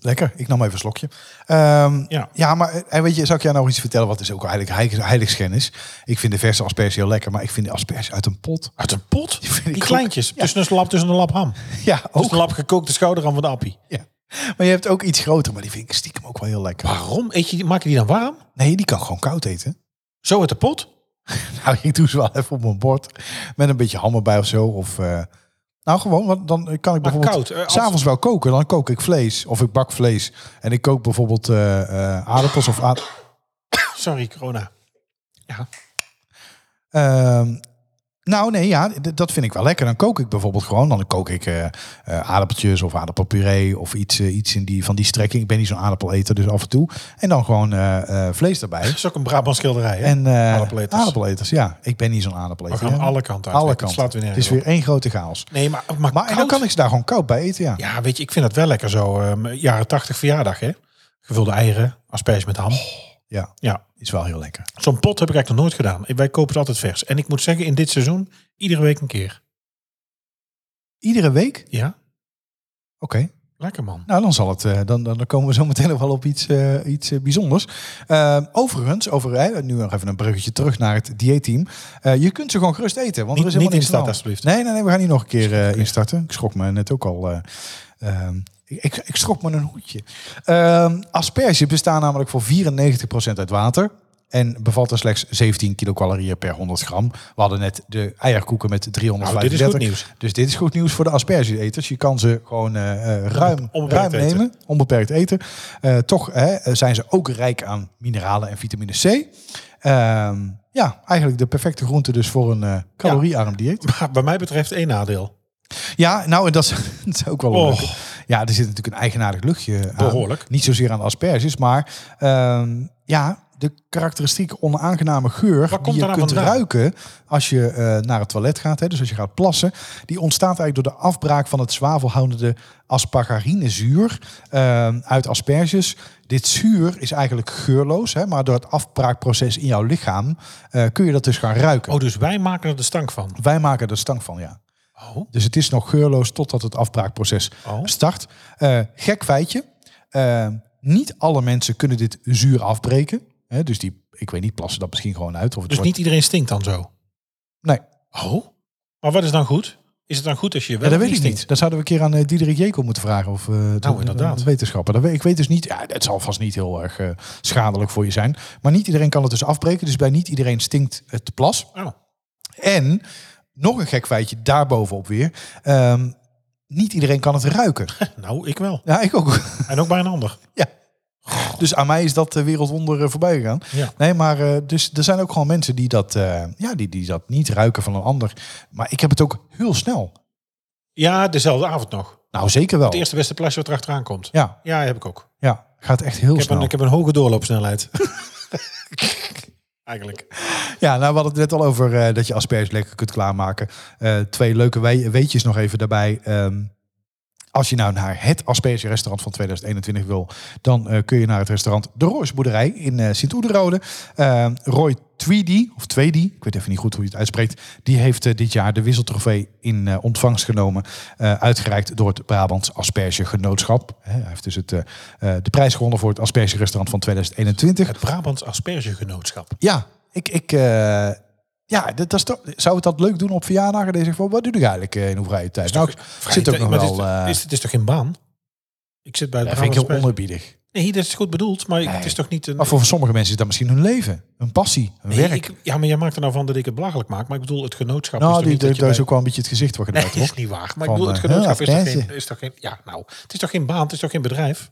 Speaker 1: Lekker, ik nam even een slokje. Ehm, ja.
Speaker 2: Ja.
Speaker 1: maar en weet je, zou ik jou nou iets vertellen wat dus ook eigenlijk heilig, heiligschennis? Ik vind de verse asperge heel lekker, maar ik vind de asperge uit een pot. (laughs)
Speaker 2: Uit een pot?
Speaker 1: Die vind ik
Speaker 2: Die
Speaker 1: ook-
Speaker 2: kleintjes.
Speaker 1: Ja.
Speaker 2: Tussen een lap, tussen een lap ham.
Speaker 1: Ja,
Speaker 2: Tussen
Speaker 1: ook.
Speaker 2: een lap gekookte schouder aan van de appie.
Speaker 1: Ja. Maar je hebt ook iets groter, maar die vind ik stiekem ook wel heel lekker.
Speaker 2: Waarom? Eet je die, maak je die dan warm?
Speaker 1: Nee, die kan gewoon koud eten.
Speaker 2: Zo uit de pot?
Speaker 1: Nou, ik doe ze wel even op mijn bord met een beetje ham erbij of zo. Of, eh, nou, gewoon, want dan kan ik
Speaker 2: Maar
Speaker 1: bijvoorbeeld
Speaker 2: koud, eh, als-
Speaker 1: s'avonds wel koken. Dan kook ik vlees of ik bak vlees. En ik kook bijvoorbeeld eh, eh, aardappels of aard-
Speaker 2: Sorry, corona. Ja.
Speaker 1: Ehm, nou, nee, ja, d- dat vind ik wel lekker. Dan kook ik bijvoorbeeld gewoon. Dan kook ik eh, eh, aardappeltjes of aardappelpuree of iets, eh, iets in die, van die strekking. Ik ben niet zo'n aardappeleter, dus af en toe. En dan gewoon eh, eh, vlees erbij.
Speaker 2: Dat is ook een Brabant schilderij. Hè?
Speaker 1: En eh
Speaker 2: Aardappeleters.
Speaker 1: aardappeleters, ja. Ik ben niet zo'n
Speaker 2: We
Speaker 1: aardappeleter.
Speaker 2: gaan
Speaker 1: hè.
Speaker 2: alle kanten uit.
Speaker 1: Alle
Speaker 2: Het
Speaker 1: kanten.
Speaker 2: slaat weer
Speaker 1: Het
Speaker 2: nergens
Speaker 1: is weer één grote chaos.
Speaker 2: op. Nee, maar, maar,
Speaker 1: Maar en dan
Speaker 2: koud?
Speaker 1: kan ik ze daar gewoon koud bij eten, ja.
Speaker 2: Ja, weet je, ik vind dat wel lekker zo. ehm, jaren tachtig verjaardag, hè? Gevulde eieren, asperges met ham.
Speaker 1: Ja,
Speaker 2: Ja.
Speaker 1: is wel heel lekker.
Speaker 2: Zo'n pot heb ik eigenlijk nog nooit gedaan. Wij kopen het altijd vers. En ik moet zeggen, in dit seizoen, iedere week een keer.
Speaker 1: Iedere week? Oké.
Speaker 2: Ja, lekker man.
Speaker 1: Nou, dan zal het. eh, dan, dan dan komen we zo meteen nog wel op iets, eh, iets eh, bijzonders. Eh, overigens, over eh, nu nog even een bruggetje terug naar het dieetteam. Eh, je kunt ze gewoon gerust eten, want
Speaker 2: Niet-
Speaker 1: er is helemaal
Speaker 2: niet
Speaker 1: niks
Speaker 2: instarten,
Speaker 1: aan de hand.
Speaker 2: alsjeblieft.
Speaker 1: Nee, nee, nee, we gaan hier nog een keer eh instarten. Ik schrok me net ook al. eh, ehm, ik, ik, ik schrok me een hoedje. Ehm asperges bestaan namelijk voor 94% uit water. En bevat er slechts 17 kilocalorieën per 100 gram. We hadden net de eierkoeken met
Speaker 2: Nou, dit
Speaker 1: 335.
Speaker 2: is goed nieuws.
Speaker 1: Dus dit is goed nieuws voor de aspergeeters. Je kan ze gewoon eh, eh, ruim,
Speaker 2: Onbeperkt
Speaker 1: ruim
Speaker 2: eten.
Speaker 1: nemen, onbeperkt eten. Eh, toch hè, zijn ze ook rijk aan mineralen en vitamine C. Ehm, ja, eigenlijk de perfecte groente dus voor een eh, caloriearm dieet.
Speaker 2: (laughs) Maar bij mij betreft één nadeel.
Speaker 1: Ja, nou en dat is, (laughs) dat is ook wel een
Speaker 2: Oh.
Speaker 1: leuke. Ja, er zit natuurlijk een eigenaardig luchtje aan.
Speaker 2: Behoorlijk.
Speaker 1: Niet zozeer aan de asperges, maar ehm, ja, de karakteristiek onaangename geur
Speaker 2: komt
Speaker 1: die je
Speaker 2: daar nou
Speaker 1: kunt
Speaker 2: vandaan?
Speaker 1: ruiken als je eh, naar het toilet gaat, hè, dus als je gaat plassen, die ontstaat eigenlijk door de afbraak van het zwavelhoudende aspargarinezuur ehm, uit asperges. Dit zuur is eigenlijk geurloos, hè, maar door het afbraakproces in jouw lichaam eh, kun je dat dus gaan ruiken.
Speaker 2: Oh, dus wij maken er de stank van.
Speaker 1: Wij maken er stank van, ja.
Speaker 2: Oh.
Speaker 1: Dus het is nog geurloos totdat het afbraakproces
Speaker 2: Oh.
Speaker 1: start. Eh, gek feitje. eh, niet alle mensen kunnen dit zuur afbreken. Hè, dus die, ik weet niet, plassen dat misschien gewoon uit. Of het
Speaker 2: Dus
Speaker 1: wordt-
Speaker 2: niet iedereen stinkt dan zo.
Speaker 1: Nee,
Speaker 2: Oh. Maar wat is dan goed? Is het dan goed als je wel
Speaker 1: ja, dat
Speaker 2: of
Speaker 1: weet ik
Speaker 2: stinkt?
Speaker 1: niet. Dat zouden we een keer aan eh, Diederik Jekel moeten vragen. Of eh, de-
Speaker 2: Nou, inderdaad.
Speaker 1: de wetenschapper. Dat we- ik weet dus niet. Ja, dat zal vast niet heel erg eh, schadelijk voor je zijn. Maar niet iedereen kan het dus afbreken. Dus bij niet iedereen stinkt het plas.
Speaker 2: Oh.
Speaker 1: En nog een gek feitje daarbovenop weer. ehm, niet iedereen kan het ruiken.
Speaker 2: (laughs) Nou, ik wel.
Speaker 1: Ja, ik ook.
Speaker 2: En ook bij een ander.
Speaker 1: Ja. Dus aan mij is dat eh, wereldwonder eh, voorbij gegaan.
Speaker 2: Ja.
Speaker 1: Nee, maar eh, dus er zijn ook gewoon mensen die dat, eh, ja, die, die dat niet ruiken van een ander. Maar ik heb het ook heel snel.
Speaker 2: (laughs) Ja, dezelfde avond nog.
Speaker 1: Nou, zeker wel.
Speaker 2: Het eerste beste plasje wat erachteraan komt.
Speaker 1: Ja,
Speaker 2: Ja, heb ik ook.
Speaker 1: ja, gaat echt heel
Speaker 2: Ik heb,
Speaker 1: snel.
Speaker 2: een, ik heb een hoge (laughs) doorloopsnelheid. Eigenlijk.
Speaker 1: Ja, nou, we hadden het net al over eh, dat je asperges lekker kunt klaarmaken. Eh, twee leuke we- weetjes nog even daarbij. Ehm, als je nou naar het aspergerestaurant van 2021 wil, dan eh, kun je naar het restaurant De Roosboerderij in eh Sint-Oederode. Eh, Roy Tweedy, of Tweedy, ik weet even niet goed hoe je het uitspreekt, die heeft eh, dit jaar de wisseltrofee in eh, ontvangst genomen. eh, uitgereikt door het Brabants Aspergegenootschap. Hè, Hij heeft dus het, eh, eh, de prijs gewonnen voor het aspergerestaurant van 2021.
Speaker 2: Het Brabants Aspergegenootschap.
Speaker 1: Ja, ik. ik eh, ja, dat, dat is toch, zou het dat leuk doen op verjaardagen? Dat je zegt van, wat doe je eigenlijk eh, in uw vrije tijd? Nou, ik zit ook nog
Speaker 2: Maar dit
Speaker 1: wel...
Speaker 2: is-
Speaker 1: eh,
Speaker 2: is, het is toch geen baan? Ik zit bij het
Speaker 1: dat vind ik
Speaker 2: Brabants
Speaker 1: heel
Speaker 2: Asperge-
Speaker 1: onerbiedig.
Speaker 2: Nee, dat is goed bedoeld, maar het is toch niet een...
Speaker 1: Maar voor sommige mensen is dat misschien hun leven. Hun passie, hun
Speaker 2: Nee,
Speaker 1: werk.
Speaker 2: ik- ja, maar jij maakt er nou van dat ik het belachelijk maak. Maar ik bedoel, het genootschap is
Speaker 1: nou,
Speaker 2: toch
Speaker 1: die,
Speaker 2: niet
Speaker 1: daar
Speaker 2: dat
Speaker 1: is
Speaker 2: je bij-
Speaker 1: ook wel een beetje het gezicht wordt
Speaker 2: Nee,
Speaker 1: gedaan,
Speaker 2: dat is
Speaker 1: toch?
Speaker 2: niet waar. Maar
Speaker 1: Van,
Speaker 2: ik bedoel, het
Speaker 1: eh,
Speaker 2: genootschap is, toch
Speaker 1: Asperge.
Speaker 2: geen, is toch geen... Ja, nou, het is toch geen baan, het is toch geen bedrijf?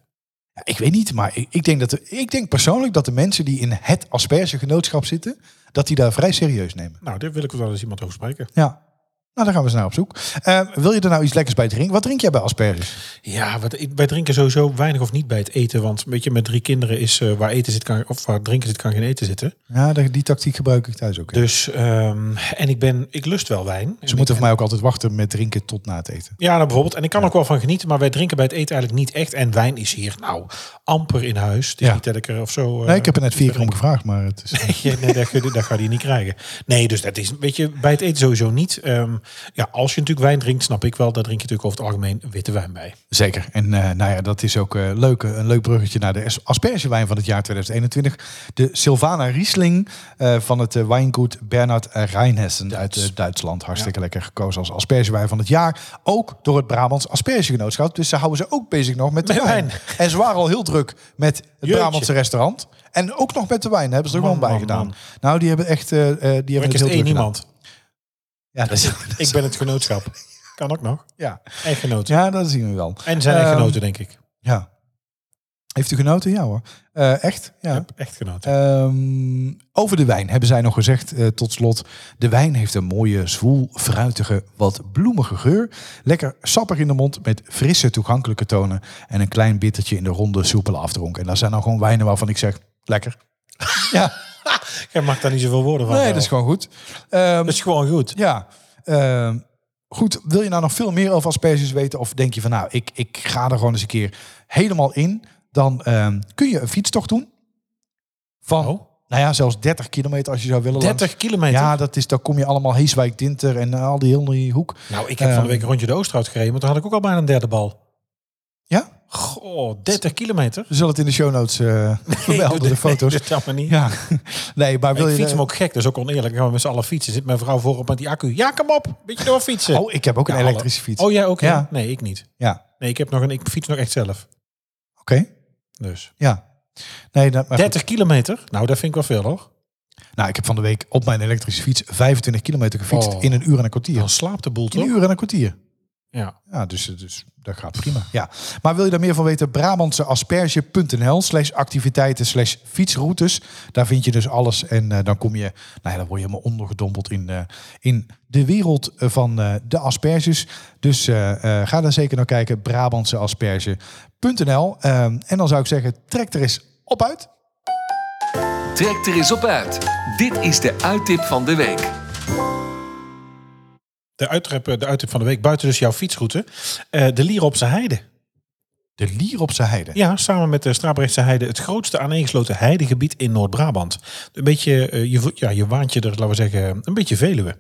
Speaker 1: Ja, Ik weet niet, maar ik, ik, denk dat de- ik denk persoonlijk dat de mensen die in het aspergegenootschap zitten, dat die daar vrij serieus nemen.
Speaker 2: Nou, daar wil ik wel eens iemand over spreken.
Speaker 1: Ja. Nou, daar gaan we eens naar op zoek. Eh, wil je er nou iets lekkers bij drinken? Wat drink jij bij asperges?
Speaker 2: Ja, wat, ik- wij drinken sowieso weinig of niet bij het eten. Want weet je, met drie kinderen is eh, waar eten zit, kan, of waar drinken zit, kan geen eten zitten.
Speaker 1: Ja, die, die tactiek gebruik ik thuis ook. hè.
Speaker 2: Dus, ehm, en ik ben, ik lust wel wijn.
Speaker 1: Ze moeten voor mij ook altijd wachten met drinken tot na het eten.
Speaker 2: Ja, nou bijvoorbeeld. En ik kan er ook wel van genieten, maar wij drinken bij het eten eigenlijk niet echt. En wijn is hier nou amper in huis. Het is
Speaker 1: Ja.
Speaker 2: niet dat ik er of zo... eh,
Speaker 1: Nee, ik heb er net vier keer om gevraagd, maar het
Speaker 2: (laughs)
Speaker 1: is... eh,
Speaker 2: Ja, nee, dat, ge- dat ga je niet krijgen. Nee, dus dat is, weet je, bij het eten sowieso niet. Ehm, ja, als je natuurlijk wijn drinkt, snap ik wel, daar drink je natuurlijk over het algemeen witte wijn bij.
Speaker 1: Zeker. En eh, nou ja, dat is ook eh, leuk, eh, een leuk bruggetje naar de as- aspergewijn van het jaar 2021. De Sylvana Riesling eh, van het eh, wijngoed Bernhard Rijnhessen uit eh, Duitsland. Hartstikke lekker gekozen als aspergewijn van het jaar. Ook door het Brabants Aspergegenootschap. Dus ze houden ze ook bezig nog met de
Speaker 2: Met
Speaker 1: wijn.
Speaker 2: wijn.
Speaker 1: En ze waren al heel druk met het
Speaker 2: Jeetje.
Speaker 1: Brabantse restaurant. En ook nog met de wijn hebben ze er
Speaker 2: Man,
Speaker 1: gewoon bij
Speaker 2: man,
Speaker 1: gedaan.
Speaker 2: man.
Speaker 1: Nou, die hebben echt eh, eh, die
Speaker 2: Maar
Speaker 1: hebben
Speaker 2: ik
Speaker 1: het
Speaker 2: is
Speaker 1: heel
Speaker 2: het één
Speaker 1: druk gedaan.
Speaker 2: iemand.
Speaker 1: Ja, dat is,
Speaker 2: Ik ben het genootschap. Kan ook nog.
Speaker 1: ja.
Speaker 2: Echtgenoot.
Speaker 1: ja, dat zien we wel.
Speaker 2: En zijn
Speaker 1: Ehm,
Speaker 2: echtgenoten, denk ik.
Speaker 1: Ja. Heeft u genoten? Ja hoor. Eh, echt? Ja.
Speaker 2: Echtgenoten.
Speaker 1: Ehm, over de wijn hebben zij nog gezegd, eh, tot slot. De wijn heeft een mooie, zwoel, fruitige, wat bloemige geur. Lekker sappig in de mond met frisse, toegankelijke tonen. En een klein bittertje in de ronde, soepele afdronk. En dat zijn nou gewoon wijnen waarvan ik zeg, lekker. ja,
Speaker 2: Jij maakt daar niet zoveel woorden van.
Speaker 1: nee,
Speaker 2: wel.
Speaker 1: dat is gewoon goed. Ehm,
Speaker 2: Dat is gewoon goed.
Speaker 1: ja. Ehm, goed, wil je nou nog veel meer over asperges weten? Of denk je van nou, ik, ik ga er gewoon eens een keer helemaal in. Dan ehm, kun je een fietstocht doen. Van,
Speaker 2: Oh.
Speaker 1: nou ja, zelfs 30 kilometer als je zou willen. langs-
Speaker 2: 30 kilometer.
Speaker 1: Ja, dat is, dan kom je allemaal Heeswijk, Dinter en eh, al die hele die hoek.
Speaker 2: Nou, ik heb van de
Speaker 1: ehm,
Speaker 2: week een rondje de Oosterhout gereden, want daar had ik ook al bijna een derde bal.
Speaker 1: Ja?
Speaker 2: Goh, 30
Speaker 1: (laughs)
Speaker 2: kilometer?
Speaker 1: We zullen het in de show notes
Speaker 2: (laughs)
Speaker 1: eh vermelden, de foto's.
Speaker 2: Nee, doe dat maar niet.
Speaker 1: (laughs) ja, nee, maar wil
Speaker 2: ik
Speaker 1: je... eh,
Speaker 2: fiets hem ook gek, dat is ook oneerlijk. Dan gaan we met z'n allen fietsen. Zit mijn vrouw voorop met die accu. Ja, kom op. Beetje doorfietsen.
Speaker 1: Oh, ik heb ook een
Speaker 2: Ja, hallo.
Speaker 1: elektrische fiets.
Speaker 2: Oh, jij ook? hè?
Speaker 1: Ja.
Speaker 2: Nee, ik niet.
Speaker 1: Ja,
Speaker 2: Nee, ik, heb nog een, ik fiets nog echt zelf.
Speaker 1: oké.
Speaker 2: Dus.
Speaker 1: Ja. Nee, dat, maar goed.
Speaker 2: 30 kilometer? Nou, dat vind ik wel veel hoor.
Speaker 1: nou, ik heb van de week op mijn elektrische fiets 25 kilometer gefietst
Speaker 2: Oh.
Speaker 1: in een uur en een kwartier.
Speaker 2: Dan slaapt de boel
Speaker 1: In een
Speaker 2: toch?
Speaker 1: uur en een kwartier.
Speaker 2: Ja.
Speaker 1: Ja, dus, dus dat gaat prima. Ja. Maar wil je daar meer van weten? Brabantseasperge.nl slash activiteiten slash fietsroutes. Daar vind je dus alles. En eh, dan kom je, nou ja, dan word je helemaal ondergedompeld in, eh, in de wereld eh, van eh, de asperges. Dus eh, eh, ga daar zeker naar kijken. Brabantseasperge.nl Ehm, En dan zou ik zeggen, trek er eens op uit.
Speaker 3: Trek er eens op uit. Dit is de uittip van de week.
Speaker 2: De uittrip, de uittrip van de week buiten dus jouw fietsroute. Eh, de Lier op zijn heide.
Speaker 1: De lier op zijn heide.
Speaker 2: Ja, samen met de Strabrechtse heide het grootste aaneengesloten heidegebied in Noord-Brabant. Een beetje, eh, je, vo- ja, je waant je er, laten we zeggen, een beetje Veluwe.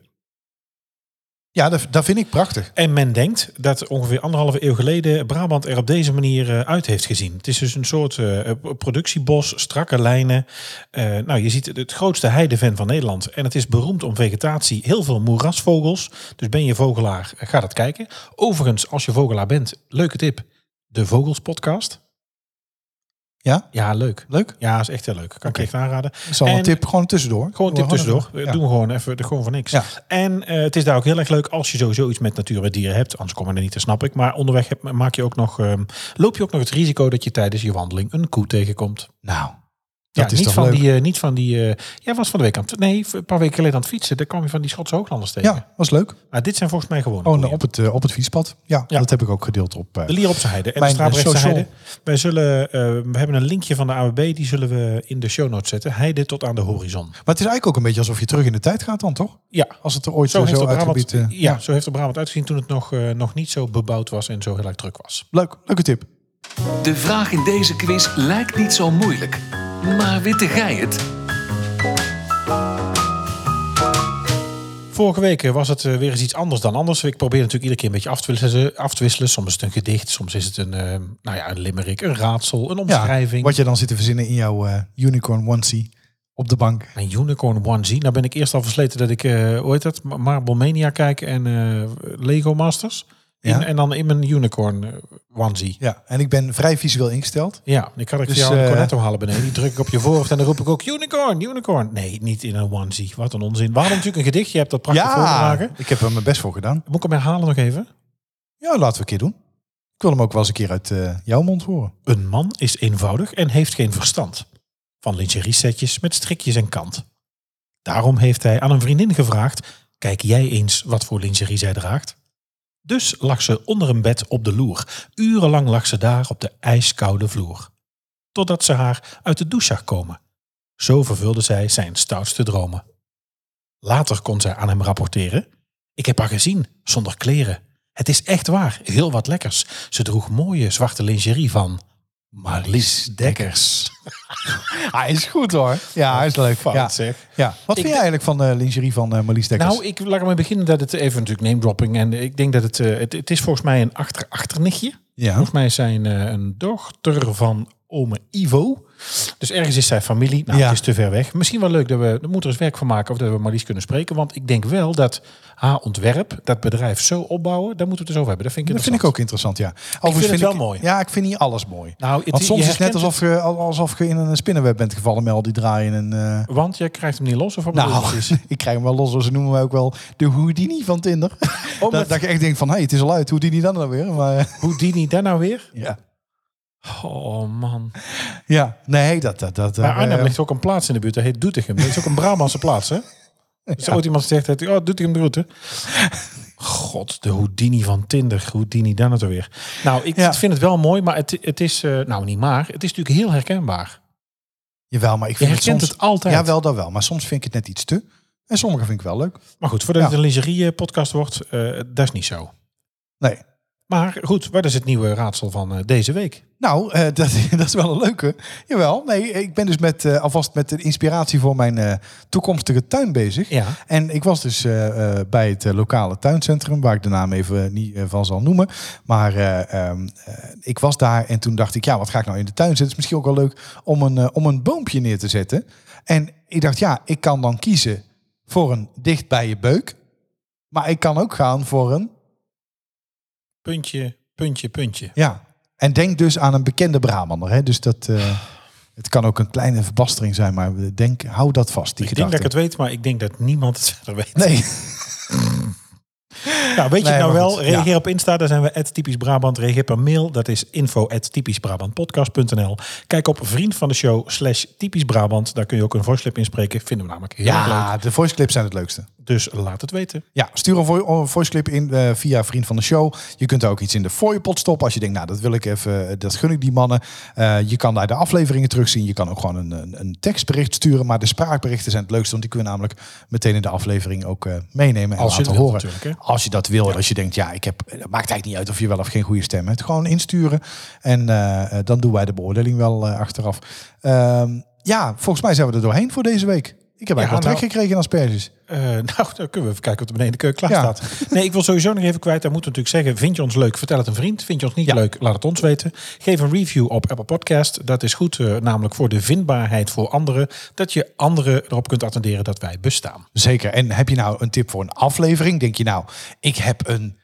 Speaker 1: Ja, dat, dat vind ik prachtig.
Speaker 2: En men denkt dat ongeveer anderhalve eeuw geleden Brabant er op deze manier eh, uit heeft gezien. Het is dus een soort eh, productiebos, strakke lijnen. Eh, nou, je ziet het- het grootste heideven van Nederland. En het is beroemd om vegetatie, heel veel moerasvogels. Dus ben je vogelaar, eh, ga dat kijken. Overigens, als je vogelaar bent, leuke tip. De Vogels podcast.
Speaker 1: Ja?
Speaker 2: Ja, leuk.
Speaker 1: Leuk.
Speaker 2: Ja, is echt heel leuk. Kan ik echt aanraden.
Speaker 1: Ik zal een
Speaker 2: En-
Speaker 1: tip gewoon tussendoor.
Speaker 2: Gewoon een tip tussendoor. Eh,
Speaker 1: Ja.
Speaker 2: Doen we gewoon even, de- gewoon voor niks.
Speaker 1: Ja.
Speaker 2: En eh, het is daar ook heel erg leuk als je sowieso iets met natuur en dieren hebt. Anders komen we er niet, dat snap ik. Maar onderweg heb, maak je ook nog, ehm, loop je ook nog het risico dat je tijdens je wandeling een koe tegenkomt.
Speaker 1: Nou,
Speaker 2: Ja,
Speaker 1: dat is
Speaker 2: niet,
Speaker 1: toch
Speaker 2: van
Speaker 1: leuk.
Speaker 2: Die, eh, niet van die... eh, jij was van de week aan het... Nee, een paar weken geleden aan het fietsen. Daar kwam je van die Schotse hooglanders tegen.
Speaker 1: eh, Ja, was leuk.
Speaker 2: Maar dit zijn volgens mij gewoon
Speaker 1: Oh, nou, op, het, eh, op het fietspad. Ja,
Speaker 2: Ja.
Speaker 1: dat heb ik ook gedeeld op. eh,
Speaker 2: De Lier op zijn heide en
Speaker 1: Mijn,
Speaker 2: de
Speaker 1: eh,
Speaker 2: Strabrechtse
Speaker 1: social.
Speaker 2: heide. Wij zullen, eh, we hebben een linkje van de AWB. Die zullen we in de show notes zetten. Heide tot aan de horizon.
Speaker 1: Maar het is eigenlijk ook een beetje alsof je terug in de tijd gaat dan, toch?
Speaker 2: Ja,
Speaker 1: Als het er ooit
Speaker 2: Zo
Speaker 1: zo,
Speaker 2: heeft,
Speaker 1: zo
Speaker 2: er Brabant,
Speaker 1: uitgebied... eh,
Speaker 2: ja, zo heeft er Brabant uitgezien toen het nog, eh, nog niet zo bebouwd was en zo heel erg druk was.
Speaker 1: Leuk, leuke tip.
Speaker 3: De vraag in deze quiz lijkt niet zo moeilijk. Maar witte gij het?
Speaker 2: Vorige week eh, was het eh, weer eens iets anders dan anders. Ik probeer natuurlijk iedere keer een beetje af te wisselen. Af te wisselen. Soms is het een gedicht, soms is het een, eh, nou ja, een limerick, een raadsel, een
Speaker 1: Ja,
Speaker 2: omschrijving.
Speaker 1: wat je dan zit te verzinnen in jouw eh, unicorn onesie op de bank.
Speaker 2: Een unicorn onesie. Nou ben ik eerst al versleten dat ik, eh hoe heet dat, Ma- Marble Mania kijk en eh, Lego Masters. In,
Speaker 1: Ja.
Speaker 2: En dan in mijn unicorn eh, onesie.
Speaker 1: Ja, en ik ben vrij visueel ingesteld.
Speaker 2: Ja, ik kan ik
Speaker 1: Dus,
Speaker 2: voor jou een
Speaker 1: eh,
Speaker 2: cornetto halen beneden. Die druk ik op je voorhoofd en dan roep ik ook unicorn, unicorn. Nee, niet in een onesie. Wat een onzin. We hadden natuurlijk een gedichtje. Je hebt dat prachtig
Speaker 1: ja,
Speaker 2: voorgedragen.
Speaker 1: ik heb er mijn best voor gedaan.
Speaker 2: Moet ik hem herhalen nog even?
Speaker 1: Ja, laten we een keer doen. Ik wil hem ook wel eens een keer uit eh, jouw mond horen.
Speaker 2: Een man is eenvoudig en heeft geen verstand. Van lingeriesetjes met strikjes en kant. Daarom heeft hij aan een vriendin gevraagd... Kijk jij eens wat voor lingerie zij draagt? Dus lag ze onder een bed op de loer. Urenlang lag ze daar op de ijskoude vloer. Totdat ze haar uit de douche zag komen. Zo vervulde zij zijn stoutste dromen. Later kon zij aan hem rapporteren. Ik heb haar gezien, zonder kleren. Het is echt waar, heel wat lekkers. Ze droeg mooie zwarte lingerie van Marlies (laughs) Dekkers.
Speaker 1: Hij is goed hoor. Ja, hij is leuk.
Speaker 2: Oh, Fout,
Speaker 1: Ja,
Speaker 2: zeg.
Speaker 1: ja. Wat vind jij eigenlijk van de lingerie van eh Marlies Dekkers?
Speaker 2: Nou, ik laat me beginnen dat het even natuurlijk name dropping. En ik denk dat het, eh, het, het is volgens mij een achter-achternichtje.
Speaker 1: ja.
Speaker 2: Volgens mij is zij een, eh, een dochter van ome Ivo. Dus ergens is zij familie. Nou,
Speaker 1: Ja.
Speaker 2: het is te ver weg. Misschien wel leuk dat we er moet er eens werk van maken of dat we Marlies kunnen spreken. Want ik denk wel dat haar ontwerp, dat bedrijf zo opbouwen, daar moeten we het dus over hebben. Dat vind ik,
Speaker 1: Dat vind ik
Speaker 2: interessant.
Speaker 1: ook interessant, ja. Overigens
Speaker 2: vind het wel mooi.
Speaker 1: Ja, ik vind niet alles mooi.
Speaker 2: Nou, het,
Speaker 1: Want soms
Speaker 2: je
Speaker 1: is het net
Speaker 2: herkent
Speaker 1: alsof je, al- alsof je in een spinnenweb bent gevallen met al die draaien. En, eh,
Speaker 2: het, want jij krijgt hem niet los of wat bedoel je
Speaker 1: nou,
Speaker 2: precies?
Speaker 1: (laughs) ik krijg hem wel los. Ze noemen mij ook wel de Houdini van Tinder.
Speaker 2: Oh, met-
Speaker 1: (laughs) dat, dat ik echt denk van, hé, hey, het is al uit. Houdini dan dan weer? Maar, eh,
Speaker 2: Houdini daar nou weer?
Speaker 1: ja.
Speaker 2: Oh man.
Speaker 1: ja, nee, dat... dat, dat
Speaker 2: Bij
Speaker 1: eh,
Speaker 2: Arnhem ligt ook een plaats in de buurt, dat heet Doetinchem. Dat is ook een Brabantse plaats, hè? Dus ooit iemand zegt, dat, oh, Doetinchem de route. God, de Houdini van Tinder. Houdini, dan het alweer. Nou, ik
Speaker 1: Ja.
Speaker 2: vind het wel mooi, maar het, het is... eh, nou, niet maar. Het is natuurlijk heel herkenbaar.
Speaker 1: Jawel, maar ik
Speaker 2: Je
Speaker 1: vind het
Speaker 2: herkent
Speaker 1: soms...
Speaker 2: het altijd.
Speaker 1: Ja, wel, dat wel. Maar soms vind ik het net iets te. En sommige vind ik wel leuk.
Speaker 2: Maar goed, voordat
Speaker 1: Ja.
Speaker 2: het een lingerie-podcast wordt, eh, dat is niet zo.
Speaker 1: Nee.
Speaker 2: Maar goed, wat is het nieuwe raadsel van eh, deze week?
Speaker 1: Nou, eh, (laughs) dat, dat is wel een leuke. Jawel, nee, ik ben dus met, eh, alvast met de inspiratie voor mijn eh, toekomstige tuin bezig.
Speaker 2: Ja.
Speaker 1: En ik was dus eh, eh, bij het eh, lokale tuincentrum, waar ik de naam even eh, niet eh, van zal noemen. Maar eh, ehm, eh, ik was daar en toen dacht ik, ja, wat ga ik nou in de tuin zetten? Het is misschien ook wel leuk om een, eh, om een boompje neer te zetten. En ik dacht, ja, ik kan dan kiezen voor een dicht bij je beuk. Maar ik kan ook gaan voor een,
Speaker 2: Puntje, puntje, puntje.
Speaker 1: ja. En denk dus aan een bekende Brabander. Hè? Dus dat, eh, Het kan ook een kleine verbastering zijn, maar denk, hou dat vast, die
Speaker 2: Ik denk dat ik
Speaker 1: gedachte.
Speaker 2: het weet, maar ik denk dat niemand het (laughs) verder weet.
Speaker 1: Nee,
Speaker 2: Nou, weet je
Speaker 1: Nee,
Speaker 2: het nou
Speaker 1: maar
Speaker 2: wel?
Speaker 1: goed,
Speaker 2: Reageer
Speaker 1: ja.
Speaker 2: op Insta, daar zijn we typisch Brabant. Reageer per mail, dat is info typisch Brabantpodcast.nl. Kijk op vriend van de show slash typisch Brabant. Daar kun je ook een voiceclip inspreken. Vinden we namelijk heel erg
Speaker 1: (laughs) ja, de voice clips zijn het leukste.
Speaker 2: leuk. Dus laat het weten.
Speaker 1: Ja, stuur een vo- een voice clip in eh, via vriend van de show. Je kunt daar ook iets in de fooiepot stoppen als je denkt, nou dat wil ik even, eh, dat gun ik die mannen. Eh, je kan daar de afleveringen terugzien. Je kan ook gewoon een, een, een tekstbericht sturen, maar de spraakberichten zijn het leukste, want die kunnen we namelijk meteen in de aflevering ook eh, meenemen en
Speaker 2: Als je
Speaker 1: laten
Speaker 2: het wilt
Speaker 1: horen.
Speaker 2: natuurlijk, hè?
Speaker 1: Als je dat wil, en als je denkt, ja, ik heb, het maakt eigenlijk niet uit of je wel of geen goede stem hebt. Gewoon insturen en eh, eh, dan doen wij de beoordeling wel eh, achteraf. Ehm, ja, volgens mij zijn we er doorheen voor deze week. Ik heb eigenlijk wel trek
Speaker 2: nou-
Speaker 1: gekregen in asperges.
Speaker 2: Eh, (laughs) nou, dan kunnen we even kijken wat er beneden in de keuken klaar
Speaker 1: Ja.
Speaker 2: staat. Nee, ik wil sowieso nog even kwijt. Daar moeten we natuurlijk zeggen, vind je ons leuk, vertel het een vriend. Vind je ons niet
Speaker 1: Ja.
Speaker 2: leuk, laat het ons weten. Geef een review op Apple Podcast. Dat is goed, eh, namelijk voor de vindbaarheid voor anderen. Dat je anderen erop kunt attenderen dat wij bestaan.
Speaker 1: Zeker. En heb je nou een tip voor een aflevering? Denk je nou, ik heb een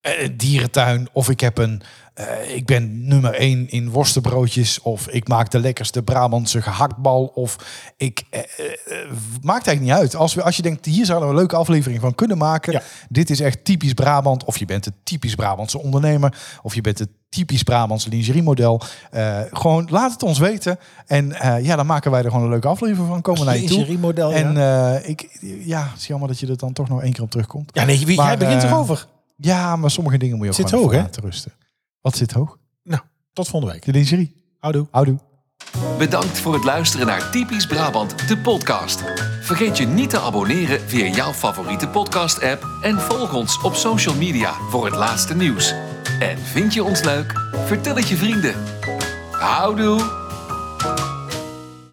Speaker 1: eh, dierentuin of ik heb een, eh, ik ben nummer één in worstenbroodjes of ik maak de lekkerste Brabantse gehaktbal of ik eh, eh, eh, maakt eigenlijk niet uit. Als we, als je denkt hier zouden we een leuke aflevering van kunnen maken,
Speaker 2: Ja.
Speaker 1: dit is echt typisch Brabant of je bent een typisch Brabantse ondernemer of je bent een typisch Brabantse lingeriemodel. Eh gewoon laat het ons weten en eh, ja, dan maken wij er gewoon een leuke aflevering van. Komen we naar je toe.
Speaker 2: model
Speaker 1: En eh, ik, ja, het is jammer dat je er dan toch nog één keer op terugkomt.
Speaker 2: Ja, nee, wie,
Speaker 1: Maar,
Speaker 2: jij begint
Speaker 1: eh,
Speaker 2: erover.
Speaker 1: Ja, maar sommige dingen moet je ook
Speaker 2: Zit
Speaker 1: gewoon
Speaker 2: hoog,
Speaker 1: even
Speaker 2: hè?
Speaker 1: laten rusten. Wat zit hoog?
Speaker 2: Nou, Tot volgende week.
Speaker 1: De lingerie.
Speaker 2: Houdoe.
Speaker 1: Houdoe.
Speaker 3: Bedankt voor het luisteren naar Typisch Brabant, de podcast. Vergeet je niet te abonneren via jouw favoriete podcast-app en volg ons op social media voor het laatste nieuws. En vind je ons leuk? Vertel het je vrienden. Houdoe!